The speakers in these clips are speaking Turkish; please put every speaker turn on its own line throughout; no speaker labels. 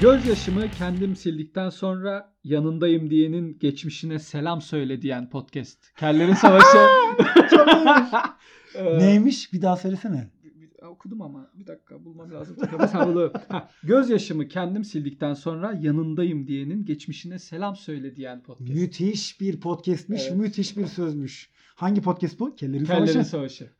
Gözyaşımı kendim sildikten sonra yanındayım diyenin geçmişine selam söyle diyen podcast. Kellerin Savaşı.
Çok iyiymiş.
Ee,
Neymiş? Bir daha söylesene.
bir- bir- Okudum ama bir dakika bulmam lazım. Kafası havalı. Ha, Gözyaşımı kendim sildikten sonra yanındayım diyenin geçmişine selam söyle diyen podcast.
Müthiş bir podcastmiş,
Evet.
müthiş bir sözmüş. Hangi podcast bu? Kellerin
Kellerin
Savaşı.
Savaşı.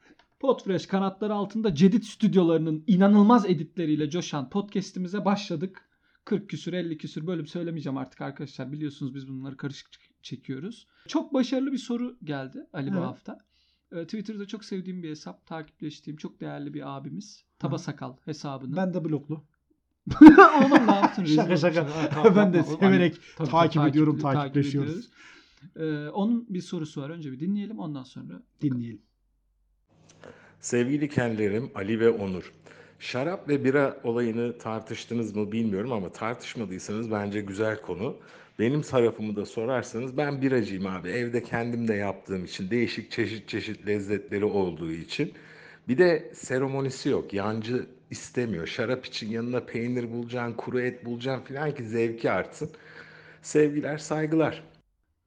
Podfresh kanatları altında Cedit stüdyolarının inanılmaz editleriyle coşan podcast'imize başladık. 40 küsür 50 küsür bölüm söylemeyeceğim artık arkadaşlar. Biliyorsunuz biz bunları karışık çekiyoruz. Çok başarılı bir soru geldi Ali bu
Evet.
hafta. Ee, Twitter'da çok sevdiğim bir hesap, takipleştiğim çok değerli bir abimiz. Taba
Hı.
Sakal hesabını.
Ben de bloklu.
Oğlum ne yaptın? Rezil
Şaka
olmuşsun.
şaka.
Ha, kalk,
Ben de
kalkma. Oğlum,
severek
hani, tabii,
takip
tabii,
ediyorum,
takip- takip
takipleşiyoruz.
ediyoruz. Ee, onun bir sorusu var. Önce bir dinleyelim ondan sonra.
Dinleyelim.
Sevgili kendilerim Ali ve Onur. Şarap ve bira olayını tartıştınız mı bilmiyorum ama tartışmadıysanız bence güzel konu. Benim tarafımı da sorarsanız ben biracıyım abi. Evde kendim de yaptığım için değişik çeşit çeşit lezzetleri olduğu için. Bir de seremonisi yok. Yancı istemiyor. Şarap için yanına peynir bulacaksın, kuru et bulacaksın filan ki zevki artsın. Sevgiler, saygılar.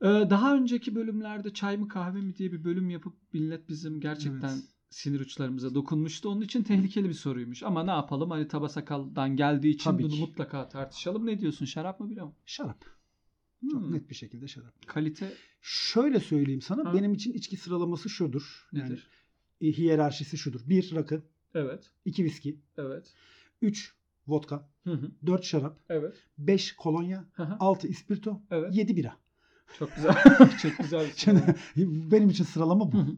Ee, daha önceki bölümlerde çay mı kahve mi diye bir bölüm yapıp millet bizim gerçekten
Evet.
sinir uçlarımıza dokunmuştu. Onun için tehlikeli bir soruymuş. Ama ne yapalım hani Taba Sakal'dan geldiği için
Tabii
bunu
ki.
mutlaka tartışalım. Ne diyorsun şarap mı bira mı?
Şarap. Çok
Hmm,
net bir şekilde şarap.
Kalite
Şöyle söyleyeyim sana.
Ha.
Benim için içki sıralaması şudur. Yani
nedir?
e, hiyerarşisi şudur. 1 rakı,
Evet.
2 viski,
Evet.
3 vodka,
Hı hı.
4 şarap,
Evet.
5 kolonya,
Hı hı.
6 ispirto,
Evet.
7 bira.
Çok güzel. Çok güzel bir şey.
Şimdi benim için sıralama
Hı
bu.
hı.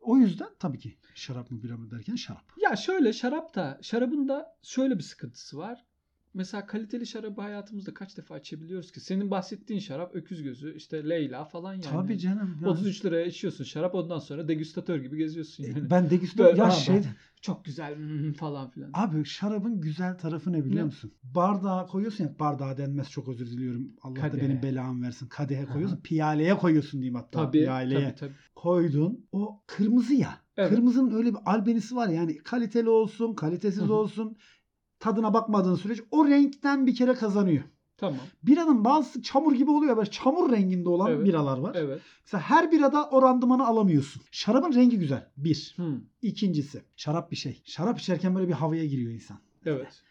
O yüzden tabii ki şarap mı bira mı derken şarap.
Ya şöyle şarap da şarabın da şöyle bir sıkıntısı var. Mesela kaliteli şarabı hayatımızda kaç defa içebiliyoruz ki? Senin bahsettiğin şarap öküz gözü işte Leyla falan yani.
Tabii canım. ya.
33 liraya içiyorsun şarap ondan sonra degüstatör gibi geziyorsun
E,
yani.
Ben degüstör
Böyle
ya
ama-
şey
Çok güzel hmm, falan filan.
abi şarabın güzel tarafı ne biliyor
Ne?
musun? Bardağa koyuyorsun ya bardağa denmez çok özür diliyorum. Allah da
Kadehe.
benim belamı versin. Kadehe
Aha.
koyuyorsun. Piyaleye koyuyorsun diyeyim hatta.
Tabii,
piyaleye
tabii tabii.
koydun. O kırmızı ya.
Evet.
Kırmızının öyle bir albenisi var yani kaliteli olsun, kalitesiz
Hı hı.
olsun. Tadına bakmadığın sürece o renkten bir kere kazanıyor.
Tamam.
Biranın bazısı çamur gibi oluyor. Böyle çamur renginde olan
Evet.
biralar var.
Evet.
Mesela her birada o randımanı alamıyorsun. Şarabın rengi güzel. Bir.
Hmm,
İkincisi şarap bir şey. Şarap içerken böyle bir havaya giriyor insan.
Evet.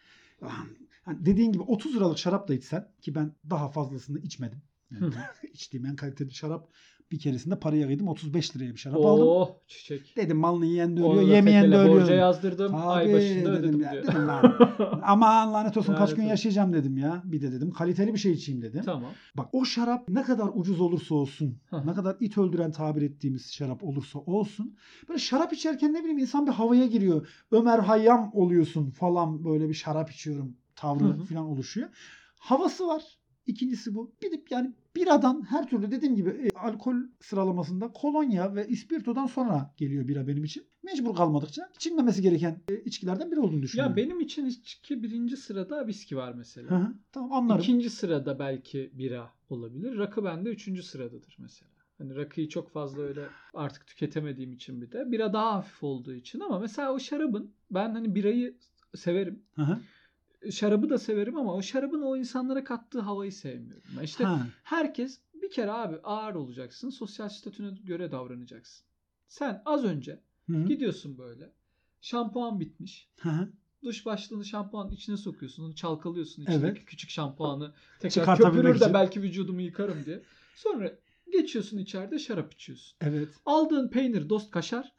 Ah, Hani dediğin gibi 30 liralık şarap da içsen ki ben daha fazlasını içmedim.
Hı.
Yani içtiğim en kaliteli şarap bir keresinde paraya yedim 35 liraya bir şarap aldım.
Oh çiçek.
Dedim malını yiyen de
Onu da
ölüyor, yemeyen de
tekele
ölüyor.
Borca yazdırdım. Ay
Tabii
başında
dedim
ödedim
ya,
diyor.
dedim lan. Aman lanet olsun kaç
Lanet
gün
olsun.
yaşayacağım dedim ya. Bir de dedim kaliteli bir şey içeyim dedim.
tamam.
Bak o şarap ne kadar ucuz olursa olsun,
Hı hı.
ne kadar it öldüren tabir ettiğimiz şarap olursa olsun. Böyle şarap içerken ne bileyim insan bir havaya giriyor. Ömer Hayyam oluyorsun falan böyle bir şarap içiyorum
Hı
tavrı
hı.
falan oluşuyor. Havası var. İkincisi bu. Bir de yani biradan her türlü dediğim gibi e, alkol sıralamasında kolonya ve ispirtodan sonra geliyor bira benim için. Mecbur kalmadıkça içilmemesi gereken e, içkilerden biri olduğunu düşünüyorum.
Ya benim için içki birinci sırada viski var mesela.
Hı hı, tamam anlarım.
İkinci sırada belki bira olabilir. Rakı bende üçüncü sıradadır mesela. Hani rakıyı çok fazla öyle artık tüketemediğim için bir de. Bira daha hafif olduğu için ama mesela o şarabın ben hani birayı severim.
Hı hı.
Şarabı da severim ama o şarabın o insanlara kattığı havayı sevmiyorum. Ben İşte
Ha.
herkes bir kere abi ağır olacaksın. Sosyal statüne göre davranacaksın. Sen az önce
Hı hı.
gidiyorsun böyle. Şampuan bitmiş
Hı hı.
duş başlığını şampuanın içine sokuyorsun. Onu çalkalıyorsun içindeki
Evet.
küçük şampuanı. Tekrar
Çıkartabilmek
köpürür de
için.
belki vücudumu yıkarım diye. Sonra geçiyorsun içeride şarap içiyorsun.
Evet.
Aldığın peynir dost kaşar.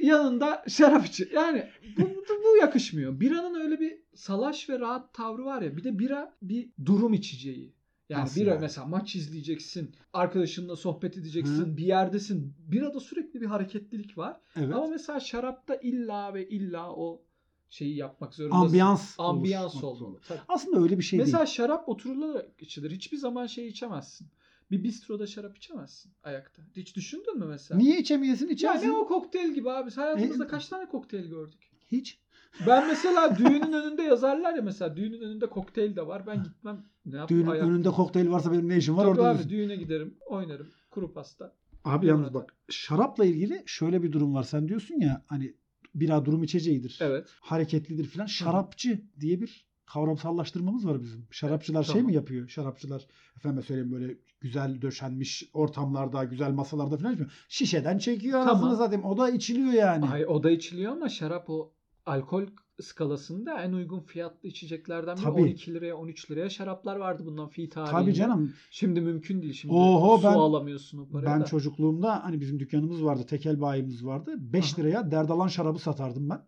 yanında şarap içi. Yani bu, bu, bu yakışmıyor. Biranın öyle bir salaş ve rahat tavrı var ya. Bir de bira bir durum içeceği. Yani
Nasıl
bira
yani?
mesela maç izleyeceksin, arkadaşınla sohbet edeceksin, bir yerdesin. Birada sürekli bir hareketlilik var.
Evet.
Ama mesela şarapta illa ve illa o şeyi yapmak zorundasın.
ambiyans olur.
Ambiyans
Bak,
olmalı. Tabii.
Aslında öyle bir şey
mesela
değil.
şarap oturularak içilir. Hiçbir zaman şey içemezsin. Bir bistroda şarap içemezsin ayakta. Hiç düşündün mü mesela?
Niye içemiyorsun?
Ya
İçersin.
ne o kokteyl gibi abi. Biz Hayatımızda
E-
kaç tane kokteyl gördük?
Hiç.
Ben mesela düğünün önünde yazarlar ya mesela düğünün önünde kokteyl de var. Ben gitmem. Ne yapayım?
Düğünün
Ayak-
önünde kokteyl varsa benim ne işim var
Tabii
orada?
abi
diyorsun.
düğüne giderim, oynarım. Kuru pasta.
Abi
orada.
yalnız bak şarapla ilgili şöyle bir durum var. Sen diyorsun ya hani bira durum içeceğidir.
Evet.
Hareketlidir filan. Şarapçı diye bir kavramsallaştırmamız var bizim. Şarapçılar şey
Tamam.
mi yapıyor? Şarapçılar efendim söyleyeyim böyle güzel döşenmiş ortamlarda, güzel masalarda falan içmiyor. Şişeden çekiyor
Tamam.
anasını satayım. O da içiliyor yani.
Ay, o da içiliyor ama şarap o alkol skalasında en uygun fiyatlı içeceklerden biri.
Tabii.
12 liraya 13 liraya şaraplar vardı bundan fi tarihinde.
Tabii canım.
Şimdi mümkün değil. Şimdi
Oho,
su
ben-
alamıyorsun o paraya
Ben
da.
çocukluğumda hani bizim dükkanımız vardı. Tekel bayimiz vardı. 5
Aha.
liraya derdalan şarabı satardım ben.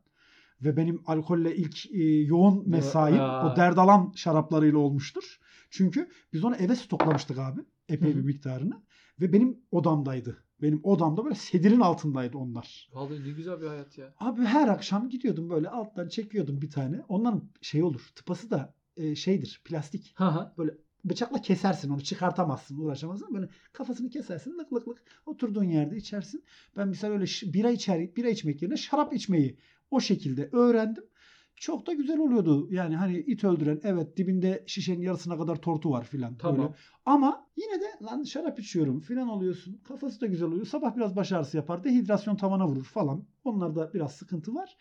Ve benim alkolle ilk e, yoğun mesaim
Ya.
o derdalan şaraplarıyla olmuştur. Çünkü biz onu eve stoklamıştık abi. Epey
Hı
bir
hı.
miktarını. Ve benim odamdaydı. Benim odamda böyle sedirin altındaydı onlar.
Vallahi ne güzel bir hayat ya.
Abi her akşam gidiyordum böyle alttan çekiyordum bir tane. Onların şey olur. Tıpası da e, şeydir plastik
Ha ha.
bıçakla kesersin onu çıkartamazsın uğraşamazsın. Böyle kafasını kesersin lık lık lık oturduğun yerde içersin. Ben mesela öyle ş- bira içer bira içmek yerine şarap içmeyi o şekilde öğrendim. Çok da güzel oluyordu. Yani hani it öldüren evet dibinde şişenin yarısına kadar tortu var filan.
Tamam.
Böyle. Ama yine de lan şarap içiyorum filan oluyorsun. Kafası da güzel oluyor. Sabah biraz baş ağrısı yapar. Dehidrasyon tavana vurur falan. Onlarda biraz sıkıntı var.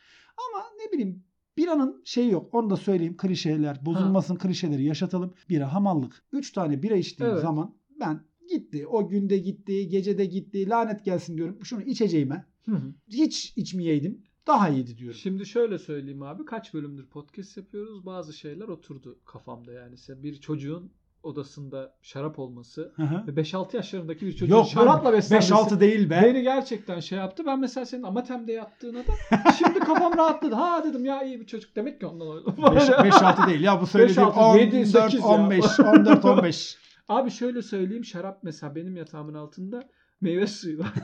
Ama ne bileyim biranın şeyi yok. Onu da söyleyeyim. Klişeler bozulmasın. Klişeleri yaşatalım. Bira hamallık. 3 tane bira içtiğim
Evet.
zaman ben gitti. O günde gitti. Gecede gitti. Lanet gelsin diyorum. Şunu içeceğime.
Hı hı.
Hiç içmeyeydim. Daha iyiydi diyorum.
Şimdi şöyle söyleyeyim abi. Kaç bölümdür podcast yapıyoruz. Bazı şeyler oturdu kafamda yani. Sen bir çocuğun odasında şarap olması
Hı hı.
ve 5-6 yaşlarındaki bir çocuğun
Yok
şarapla
şarapla
beslenmesi
5-6 değil be.
beni gerçekten şey yaptı. Ben mesela senin amatemde yattığına da şimdi kafam rahatladı. Ha dedim ya iyi bir çocuk demek ki ondan öyle.
5-6 değil ya bu söylediğim
5-6, yedi, sekiz
14
ya.
15 14 15.
Abi şöyle söyleyeyim şarap mesela benim yatağımın altında meyve suyu vardı.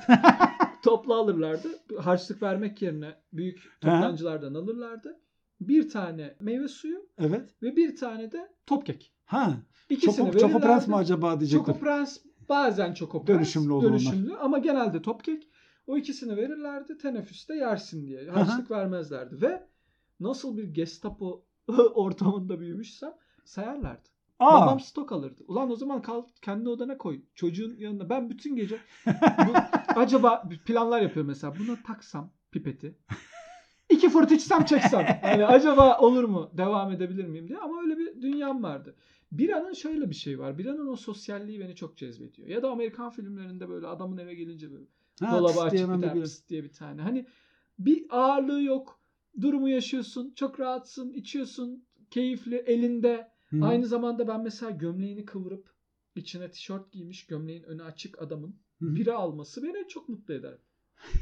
Toplu alırlardı. Harçlık vermek yerine büyük toptancılardan alırlardı. Bir tane meyve suyu
Evet.
ve bir tane de top kek.
Ha.
İkisini
Çoko, Çoko Prens mi
verirlerdi.
acaba diyecektim.
Choco Prens bazen Choco Prens.
Dönüşümlü olur
dönüşümlü ama genelde top kek. O ikisini verirlerdi teneffüste yersin diye. Harçlık vermezlerdi ve nasıl bir Gestapo ortamında büyümüşsem sayarlardı.
Aa,
Babam stok alırdı. Ulan o zaman kal kendi odana koy. Çocuğun yanına. Ben bütün gece bu, acaba planlar yapıyorum mesela. Buna taksam pipeti. İki fırt içsem çeksem. Hani acaba olur mu? Devam edebilir miyim diye. Ama öyle bir dünyam vardı. Biranın şöyle bir şey var. Biranın o sosyalliği beni çok cezbediyor. Ya da Amerikan filmlerinde böyle adamın eve gelince böyle
ha,
dolabı açık
isteyemem
bir
bir
tane
gün.
pıs diye bir tane. Hani bir ağırlığı yok. Durumu yaşıyorsun. Çok rahatsın. içiyorsun. Keyifli. Elinde.
Hı.
Aynı zamanda ben mesela gömleğini kıvırıp içine tişört giymiş gömleğin önü açık adamın
Hı hı.
bira alması beni çok mutlu eder.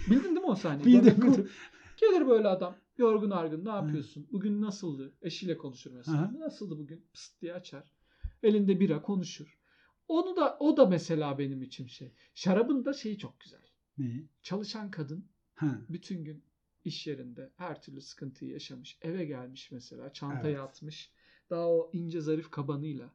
Bildin değil mi o sahneyi?
Bildim,
Gömleği
bildim.
kıvırıp Gelir böyle adam. Yorgun argın ne yapıyorsun? Bugün nasıldı? Eşiyle konuşur mesela.
Aha.
Nasıldı bugün? Pıst diye açar. Elinde bira konuşur. Onu da o da mesela benim için şey. Şarabın da şeyi çok güzel.
Ne?
Çalışan kadın
Ha.
bütün gün iş yerinde her türlü sıkıntıyı yaşamış. Eve gelmiş mesela çantayı
Evet.
atmış. Daha o ince zarif kabanıyla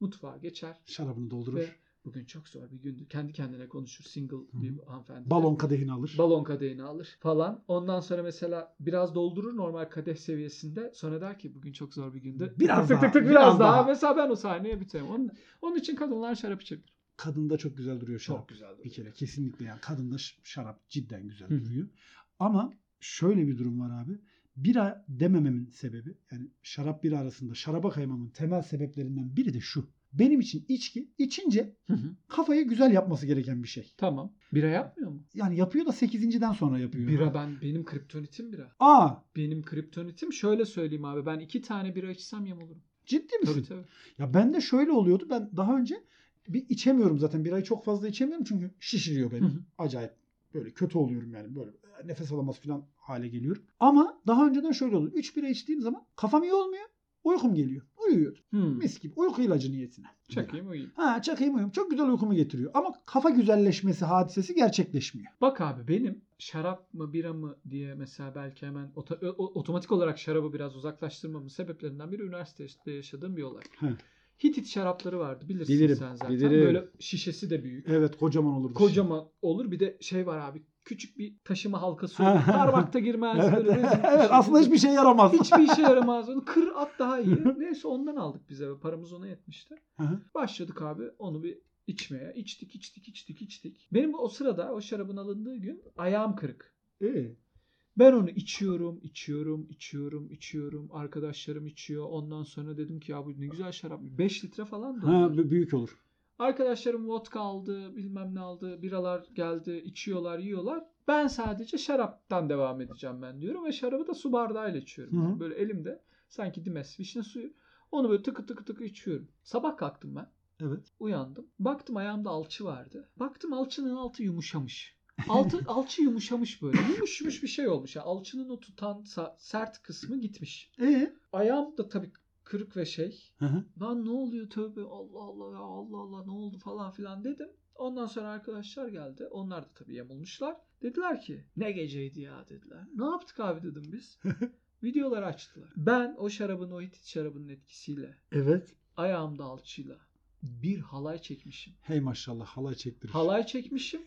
mutfağa geçer.
Şarabını doldurur.
Ve bugün çok zor bir gündü. Kendi kendine konuşur single bir hanımefendi.
Balon kadehini alır.
Balon kadehini alır falan. Ondan sonra mesela biraz doldurur normal kadeh seviyesinde. Sonra der ki bugün çok zor bir gündü.
Biraz
tık tık
daha,
tık biraz,
biraz
daha.
daha.
Mesela ben o sahneye biterim. Onun, onun için kadınlar şarap içebilir.
Kadında çok güzel duruyor şarap.
Çok güzel.
Bir kere kesinlikle yani kadında ş- şarap cidden güzel
Hı.
duruyor. Ama şöyle bir durum var abi. Bira demememin sebebi yani şarap bira arasında şaraba kaymamın temel sebeplerinden biri de şu. Benim için içki içince
Hı hı.
kafayı güzel yapması gereken bir şey.
Tamam. Bira yapmıyor mu?
Yani yapıyor da 8.den sonra yapıyor.
Bira ben benim kriptonitim bira.
Aa
Benim kriptonitim şöyle söyleyeyim abi. Ben iki tane bira içsem yem olurum.
ciddi misin?
Tabii tabii.
Ya ben de şöyle oluyordu. Ben daha önce bir içemiyorum zaten. Birayı çok fazla içemiyorum çünkü şişiriyor beni.
Hı hı.
Acayip böyle kötü oluyorum yani böyle e, nefes alamaz falan hale geliyorum. Ama daha önceden şöyle oldu. 3 bira içtiğim zaman kafam iyi olmuyor. Uykum geliyor. Uyuyordum.
Hmm.
Mis gibi. Uyku ilacı niyetine.
Çakayım uyuyayım.
Ha çakayım uyum. Çok güzel uykumu getiriyor. Ama kafa güzelleşmesi hadisesi gerçekleşmiyor.
Bak abi benim şarap mı bira mı diye mesela belki hemen ota- ö- o- otomatik olarak şarabı biraz uzaklaştırmamın sebeplerinden biri üniversitede yaşadığım bir olay.
He.
Hitit şarapları vardı bilirsin
Bilirim,
sen zaten.
bilirim.
Böyle şişesi de büyük.
Evet kocaman olur. şey.
Kocaman olur. Bir de şey var abi küçük bir taşıma halkası olur. Parmakta girmez.
Evet,
böyle rezil bir
evet
şey.
aslında hiçbir şey yaramaz.
Hiçbir işe yaramaz. Onu kır at daha iyi. Neyse ondan aldık bize ve paramız ona yetmişti.
Hı hı.
Başladık abi onu bir içmeye. İçtik içtik içtik içtik. Benim o sırada o şarabın alındığı gün ayağım kırık.
Ee,
Ben onu içiyorum, içiyorum, içiyorum, içiyorum. Arkadaşlarım içiyor. Ondan sonra dedim ki ya bu ne güzel şarap. 5 litre falan da.
Ha, bu büyük olur.
Arkadaşlarım vodka aldı, bilmem ne aldı, biralar geldi, içiyorlar, yiyorlar. Ben sadece şaraptan devam edeceğim ben diyorum ve şarabı da su bardağıyla içiyorum.
Hı hı.
Böyle elimde sanki dimes vişne suyu. Onu böyle tıkı tıkı tıkı içiyorum. Sabah kalktım ben.
Evet.
Uyandım. Baktım ayağımda alçı vardı. Baktım alçının altı yumuşamış. Altı, alçı yumuşamış böyle. Yumuşmuş bir şey olmuş. Yani alçının o tutan sa- sert kısmı gitmiş.
E
Ayağım da tabii kırık ve şey.
Hı hı.
Lan ne oluyor tövbe Allah Allah ya Allah Allah ne oldu falan filan dedim. Ondan sonra arkadaşlar geldi. Onlar da tabii yamulmuşlar. Dediler ki ne geceydi ya dediler. Ne yaptık abi dedim biz. Videoları açtılar. Ben o şarabın o hitit şarabının etkisiyle
evet.
ayağımda alçıyla bir halay çekmişim.
Hey maşallah halay çektirir.
Halay çekmişim.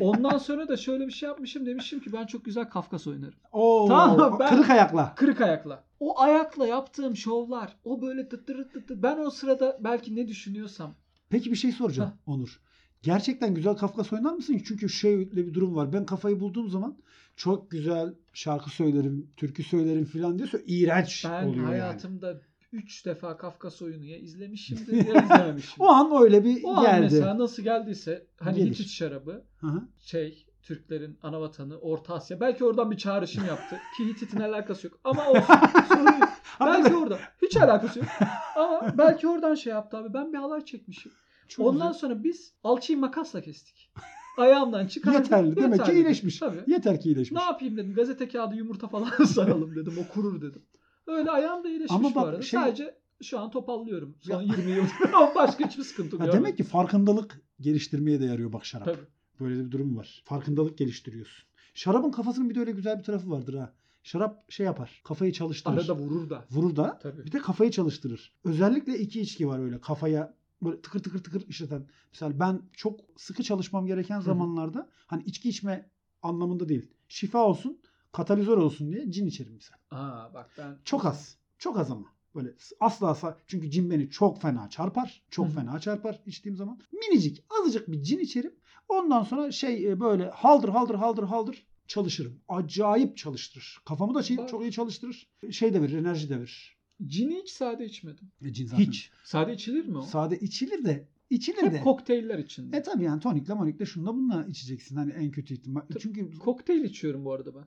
Ondan sonra da şöyle bir şey yapmışım. Demişim ki ben çok güzel Kafkas oynarım.
Oo,
Tamam, ben-
Kırık ayakla.
Kırık ayakla. O ayakla yaptığım şovlar, o böyle tıttırıt tıttır. Ben o sırada belki ne düşünüyorsam
Peki bir şey soracağım
Heh.
Onur. Gerçekten güzel Kafkas oynar mısın? Çünkü şöyle bir durum var. Ben kafayı bulduğum zaman çok güzel şarkı söylerim, türkü söylerim filan diyorsa iğrenç
Ben
oluyor yani.
hayatımda 3 defa Kafkas oyunu ya izlemişimdir ya izlememişim.
O an öyle bir
o an
geldi.
mesela nasıl geldiyse hani
Gelir.
Hitit şarabı
Hı hı.
şey Türklerin ana vatanı Orta Asya. Belki oradan bir çağrışım yaptı. Ki Hitit'in alakası yok. Ama olsun. Sorun yok. belki
Hakikaten
orada. Hiç alakası yok. Ama belki oradan şey yaptı abi. Ben bir halay çekmişim.
çok
Ondan
güzel.
sonra biz alçıyı makasla kestik. Ayağımdan çıkardık.
Yeterli. Demek ki
yeterli.
iyileşmiş.
Tabii.
yeter ki iyileşmiş.
Ne yapayım dedim. Gazete kağıdı yumurta falan saralım dedim. O kurur dedim. Öyle ayağım da iyileşmiş
Ama bak
bu arada.
şey-
Sadece şu an topallıyorum. Son
Ya-
20 yıl. Ama Başka hiçbir sıkıntı
Ha,
yok.
demek ki farkındalık geliştirmeye de yarıyor bak şarap.
Tabii.
Böyle de bir durum var. Farkındalık geliştiriyorsun. Şarabın kafasının bir de öyle güzel bir tarafı vardır ha. Şarap şey yapar. Kafayı çalıştırır.
Arada vurur da.
Vurur da
Tabii.
Bir de kafayı çalıştırır. Özellikle iki içki var öyle kafaya böyle tıkır tıkır tıkır işleten. Mesela ben çok sıkı çalışmam gereken
hı.
zamanlarda hani içki içme anlamında değil. Şifa olsun, katalizör olsun diye cin içerim mesela.
Aa bak ben
Çok az. Çok az ama. Böyle asla asla. Çünkü cin beni çok fena çarpar. Çok
Hı hı.
fena çarpar içtiğim zaman. Minicik azıcık bir cin içerim. Ondan sonra şey e, böyle haldır haldır haldır haldır çalışırım. Acayip çalıştırır. Kafamı da şey,
Bak.
çok iyi çalıştırır. Şey de verir, enerji de verir.
cini hiç sade içmedim.
E, cin zaten-
Hiç. Sade içilir mi o?
Sade içilir de içilir
Hep
de.
kokteyller içinde.
e tabi yani tonikle monikle şunla bununla içeceksin hani en kötü ihtimal.
Tabii.
Çünkü
Kokteyl içiyorum bu arada ben.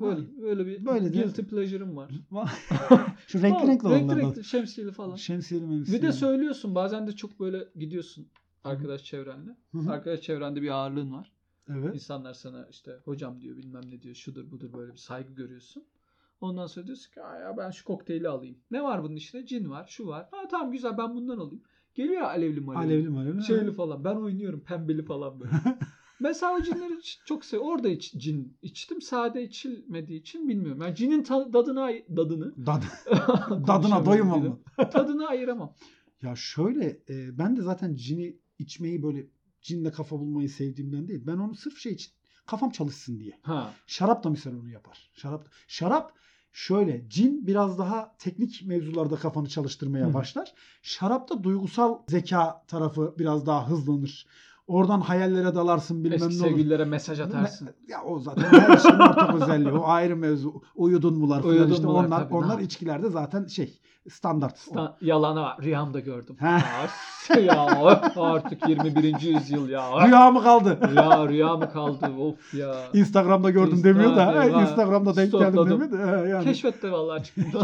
Böyle, böyle bir
Böyle de-
guilty pleasure'ım var.
şu renkli
Ama
renkli
renkli,
olanlar.
renkli şemsiyeli falan.
Şemsiyeli memsiyeli.
Bir de söylüyorsun bazen de çok böyle gidiyorsun arkadaş çevrenle.
Hı hı.
Arkadaş çevrende bir ağırlığın var.
Evet.
İnsanlar sana işte hocam diyor bilmem ne diyor şudur budur böyle bir saygı görüyorsun. Ondan sonra diyorsun ki "Aa ya ben şu kokteyli alayım. Ne var bunun içinde? Cin var, şu var. Ha tamam güzel ben bundan alayım. Geliyor ya alevli malevli.
Alevli malevli.
Şeyli falan. Ben oynuyorum pembeli falan böyle. Mesela o cinleri ç- çok seviyorum. Orada iç, cin içtim. Sade içilmediği için bilmiyorum. Yani cinin ta- tadına ay- dadını
Dad, dadına
Konuşamıyorum
doyum
bir de.
olma.
Tadını ayıramam.
Ya şöyle e, ben de zaten cini içmeyi böyle cinle kafa bulmayı sevdiğimden değil. Ben onu sırf şey için kafam çalışsın diye.
Ha.
Şarap da mesela onu yapar. Şarap şarap şöyle cin biraz daha teknik mevzularda kafanı çalıştırmaya
Hı.
başlar. Şarapta duygusal zeka tarafı biraz daha hızlanır. Oradan hayallere dalarsın bilmem
Eski
ne olur.
sevgililere mesaj atarsın.
Ya o zaten her şeyin ortak özelliği. O ayrı mevzu. Uyudun mular falan
Uyudun
işte
mular
onlar
tabii,
onlar
ne
içkilerde zaten şey standart.
Sta- Yalanı var. Rüyamda gördüm.
He.
As ya öf, artık 21. yüzyıl ya. Rüya,
Rüya mı kaldı?
rüya, mı kaldı? Of ya.
Instagram'da gördüm
Insta-
demiyor da.
eyvah.
he, Instagram'da denk geldim
Stokladım.
demiyor da. he, Yani.
Keşfette vallahi çıktı.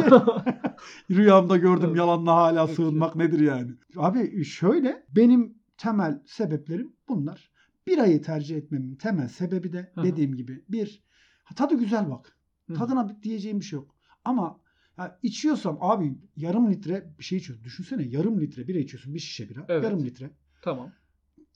Rüyamda gördüm
Evet.
yalanla hala
Evet.
sığınmak nedir yani? Abi şöyle benim temel sebeplerim bunlar. Birayı tercih etmemin temel sebebi de
Hı hı.
dediğim gibi bir ha, tadı güzel bak.
Hı.
Tadına bir- diyeceğim bir şey yok. Ama ya içiyorsam abi yarım litre bir şey içiyorsun. Düşünsene yarım litre bira içiyorsun. Bir şişe bira.
Evet.
Yarım litre.
tamam.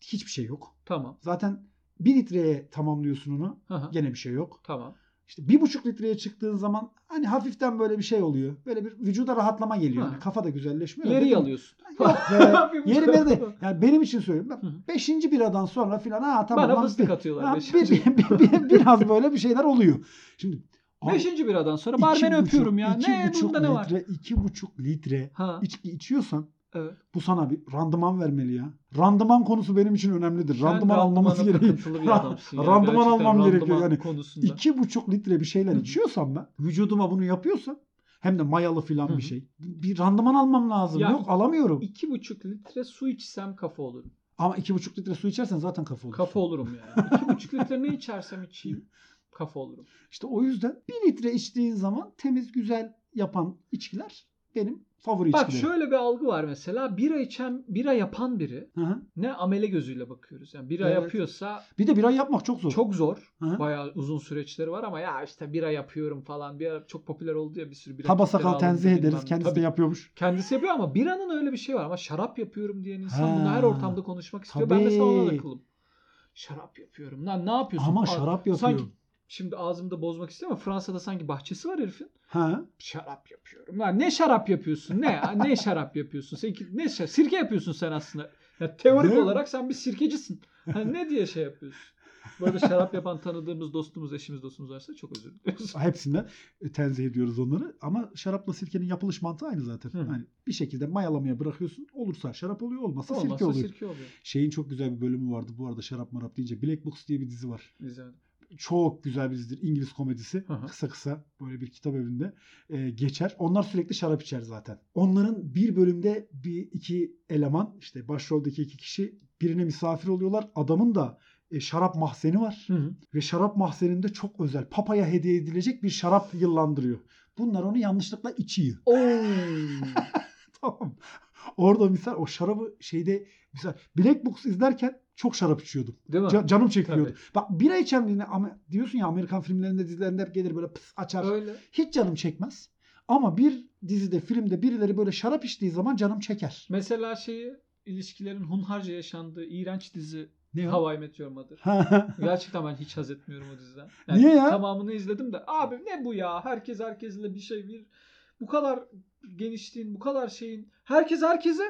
Hiçbir şey yok.
Tamam.
Zaten bir litreye tamamlıyorsun onu.
Hı hı,
Gene bir şey yok.
tamam.
İşte bir buçuk litreye çıktığın zaman hani hafiften böyle bir şey oluyor. Böyle bir vücuda rahatlama geliyor.
Ha.
Yani kafa da güzelleşmiyor.
Yeri
Dedim,
yalıyorsun.
Yok be.
Bir buçuk
Ee, yeri beri de.
litre.
Yani benim için söylüyorum.
Hı hı.
Ben beşinci biradan sonra filan ha tamam.
Bana
lan
fıstık
bir-
atıyorlar.
ha,
beşinci.
bir- bir- bir- biraz böyle bir şeyler oluyor. Şimdi abi,
Beşinci biradan sonra
iki
barmeni
buçuk-
öpüyorum ya.
iki
Ne
buçuk
bunda ne var?
litre, İki buçuk litre
Ha.
içki içiyorsan
Evet.
Bu sana bir randıman vermeli ya. Randıman konusu benim için önemlidir.
Sen
Randıman
randımana
anlaması gerekiyor.
takıntılı bir adamsın ya.
Randıman
Gerçekten
almam
randıman
gerekiyor yani.
Konusunda.
İki buçuk litre bir şeyler
Hı hı.
içiyorsam ben vücuduma bunu yapıyorsam hem de mayalı
Hı
filan
hı.
bir şey. Bir randıman almam lazım.
Ya-
Yok alamıyorum.
İki buçuk litre su içsem kafa olurum.
Ama iki buçuk litre su içersen zaten kafa olur.
Kafa olurum yani. İki buçuk litre ne içersem içeyim kafa olurum.
İşte o yüzden bir litre içtiğin zaman temiz güzel yapan içkiler benim favori
Bak
içkilerim.
şöyle bir algı var mesela. Bira içen, bira yapan biri
Hı hı.
ne amele gözüyle bakıyoruz. Yani bira
Evet.
yapıyorsa
Bir de bir ay yapmak çok zor.
çok zor.
Hı hı.
Bayağı uzun süreçleri var ama ya işte bira yapıyorum falan. Bir ara çok popüler oldu ya bir sürü bira.
Kaba
kitleri
sakal
alındı
tenzih
bilmem
ederiz.
ne.
Kendisi
Tabii.
de yapıyormuş.
Kendisi yapıyor ama biranın öyle bir şey var. Ama şarap yapıyorum diyen insan bunu her
Ha,
ortamda konuşmak istiyor. Ben mesela ona
tabii.
takılım. Şarap yapıyorum. Lan ne yapıyorsun?
Ama
Aa,
şarap yapıyor.
Sanki şimdi ağzımda bozmak istiyorum ama Fransa'da sanki bahçesi var herifin.
Ha?
Şarap yapıyorum. Lan ne şarap yapıyorsun? Ne ya? ne şarap yapıyorsun? Sen, ki- ne şa- sirke yapıyorsun sen aslında. Ya teorik
Değil mi?
olarak sen bir sirkecisin. Hani ne diye şey yapıyorsun? Bu arada şarap yapan tanıdığımız, dostumuz, eşimiz, dostumuz varsa çok özür diliyoruz.
Hepsinden tenzih ediyoruz onları. Ama şarapla sirkenin yapılış mantığı aynı zaten.
Hı.
Yani bir şekilde mayalamaya bırakıyorsun. Olursa şarap oluyor, olmazsa, sirke
Olmazsa
oluyor.
sirke oluyor.
Şeyin çok güzel bir bölümü vardı bu arada şarap marap deyince. Black Books diye bir dizi var.
İzlemedim.
çok güzel bir dizidir. İngiliz komedisi.
Hı hı.
Kısa kısa böyle bir kitap evinde e, geçer. Onlar sürekli şarap içer zaten. Onların bir bölümde bir iki eleman işte başroldeki iki kişi birine misafir oluyorlar. Adamın da e, şarap mahzeni var.
Hı hı.
Ve şarap mahzeninde çok özel. Papaya hediye edilecek bir şarap yıllandırıyor. Bunlar onu yanlışlıkla içiyor.
Oo.
tamam. Orada misal o şarabı şeyde misal Black Books izlerken çok şarap içiyordum.
Değil mi?
Ca- canım çekiliyordu. Bak bira içen birine ama diyorsun ya Amerikan filmlerinde dizilerinde hep gelir böyle pıs açar.
Öyle.
Hiç canım çekmez. Ama bir dizide filmde birileri böyle şarap içtiği zaman canım çeker.
Mesela şeyi ilişkilerin hunharca yaşandığı iğrenç dizi
Ne o?
Hawaii Meteor Mother. Gerçekten ben hiç haz etmiyorum o diziden.
Niye ya?
Tamamını izledim de abi ne bu ya? Herkes herkesle bir şey bir bu kadar genişliğin, bu kadar şeyin herkes herkese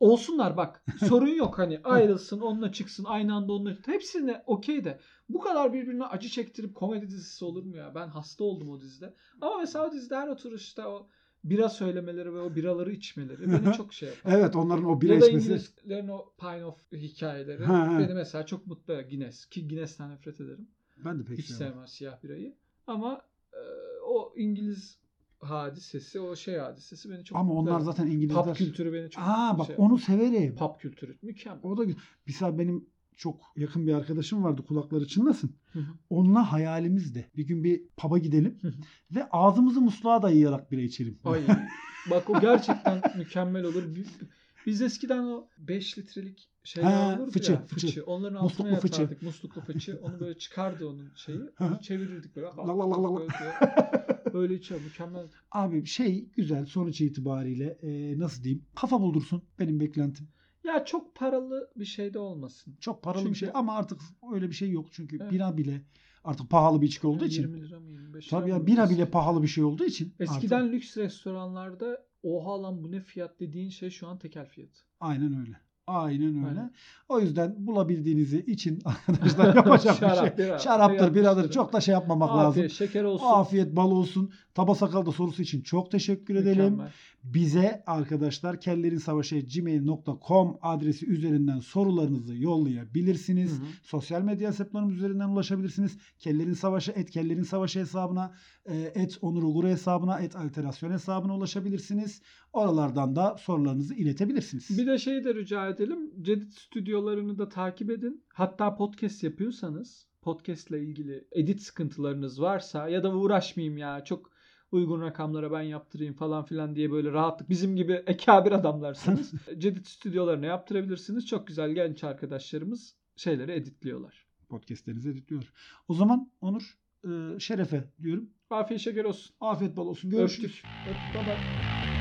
olsunlar bak. Sorun yok hani ayrılsın, onunla çıksın, aynı anda onunla hepsine okey de bu kadar birbirine acı çektirip komedi dizisi olur mu ya? Ben hasta oldum o dizide. Ama mesela o dizide her oturuşta o bira söylemeleri ve o biraları içmeleri beni çok şey yapar.
evet onların o bira
ya da
içmesi.
İngilizlerin o Pine of hikayeleri
Ha, ha.
beni mesela çok mutlu eder. Guinness. Ki Guinness'ten nefret ederim.
Ben de pek
Hiç
sevmem.
sevmem siyah birayı. Ama e, o İngiliz hadisesi, o şey hadisesi beni çok
Ama
mutlu
onlar
eder.
zaten
Pub
İngilizler.
kültürü beni çok
Aa bak
şey yapar.
onu severim.
Pub kültürü mükemmel.
O da güzel. Mesela benim çok yakın bir arkadaşım vardı kulakları çınlasın.
Hı hı.
Onunla hayalimiz de bir gün bir pub'a gidelim
Hı hı.
ve ağzımızı musluğa dayayarak bira içelim.
Ay bak o gerçekten mükemmel olur. Biz, biz eskiden o 5 litrelik şeyler
Ha,
olurdu
fıçı,
ya.
fıçı.
Onların altına
Musluklu fıçı.
yatardık. Musluklu fıçı. Onu böyle çıkardı onun şeyi.
Hı hı.
Onu çevirirdik böyle.
La la la la la.
Böyle- Böyle içer mükemmel.
Abi şey güzel sonuç itibariyle e, nasıl diyeyim kafa buldursun benim beklentim.
Ya çok paralı bir şey de olmasın.
Çok paralı bir
Çünkü-
şey ama artık öyle bir şey yok çünkü
Evet.
bira bile artık pahalı bir içki olduğu için.
20 lira mı 25 lira
Tabii ya
mı?
bira bile pahalı bir şey olduğu için.
Eskiden
artık-
lüks restoranlarda oha lan bu ne fiyat dediğin şey şu an tekel fiyatı.
aynen öyle. Aynen öyle.
Aynen.
O yüzden bulabildiğinizi için arkadaşlar yapacak bir
Şarap,
şey.
bira,
Şaraptır,
bira,
biradır.
bira.
Çok da şey yapmamak
Afiyet,
lazım.
şeker olsun.
Afiyet bal olsun. Taba sakalda sorusu için çok teşekkür edelim.
Mükemmel.
Bize arkadaşlar kellerinsavaşı.gmail.com adresi üzerinden sorularınızı yollayabilirsiniz.
Hı hı.
Sosyal medya hesaplarımız üzerinden ulaşabilirsiniz. Kellerin Savaşı et Kellerin Savaşı hesabına, e, et Onur Uğur hesabına, et Alterasyon hesabına ulaşabilirsiniz. Oralardan da sorularınızı iletebilirsiniz.
Bir de şey de rica edelim. Cedid stüdyolarını da takip edin. Hatta podcast yapıyorsanız podcastle ilgili edit sıkıntılarınız varsa ya da uğraşmayayım ya çok uygun rakamlara ben yaptırayım falan filan diye böyle rahatlık bizim gibi ekabir adamlarsınız. Cedid stüdyolarına yaptırabilirsiniz. Çok güzel genç arkadaşlarımız şeyleri editliyorlar.
Podcastlerinizi editliyor. O zaman Onur e, şerefe diyorum.
Afiyet şeker olsun.
Afiyet bal olsun. Görüşürüz.
Görüştük. Öptük. Bye bye.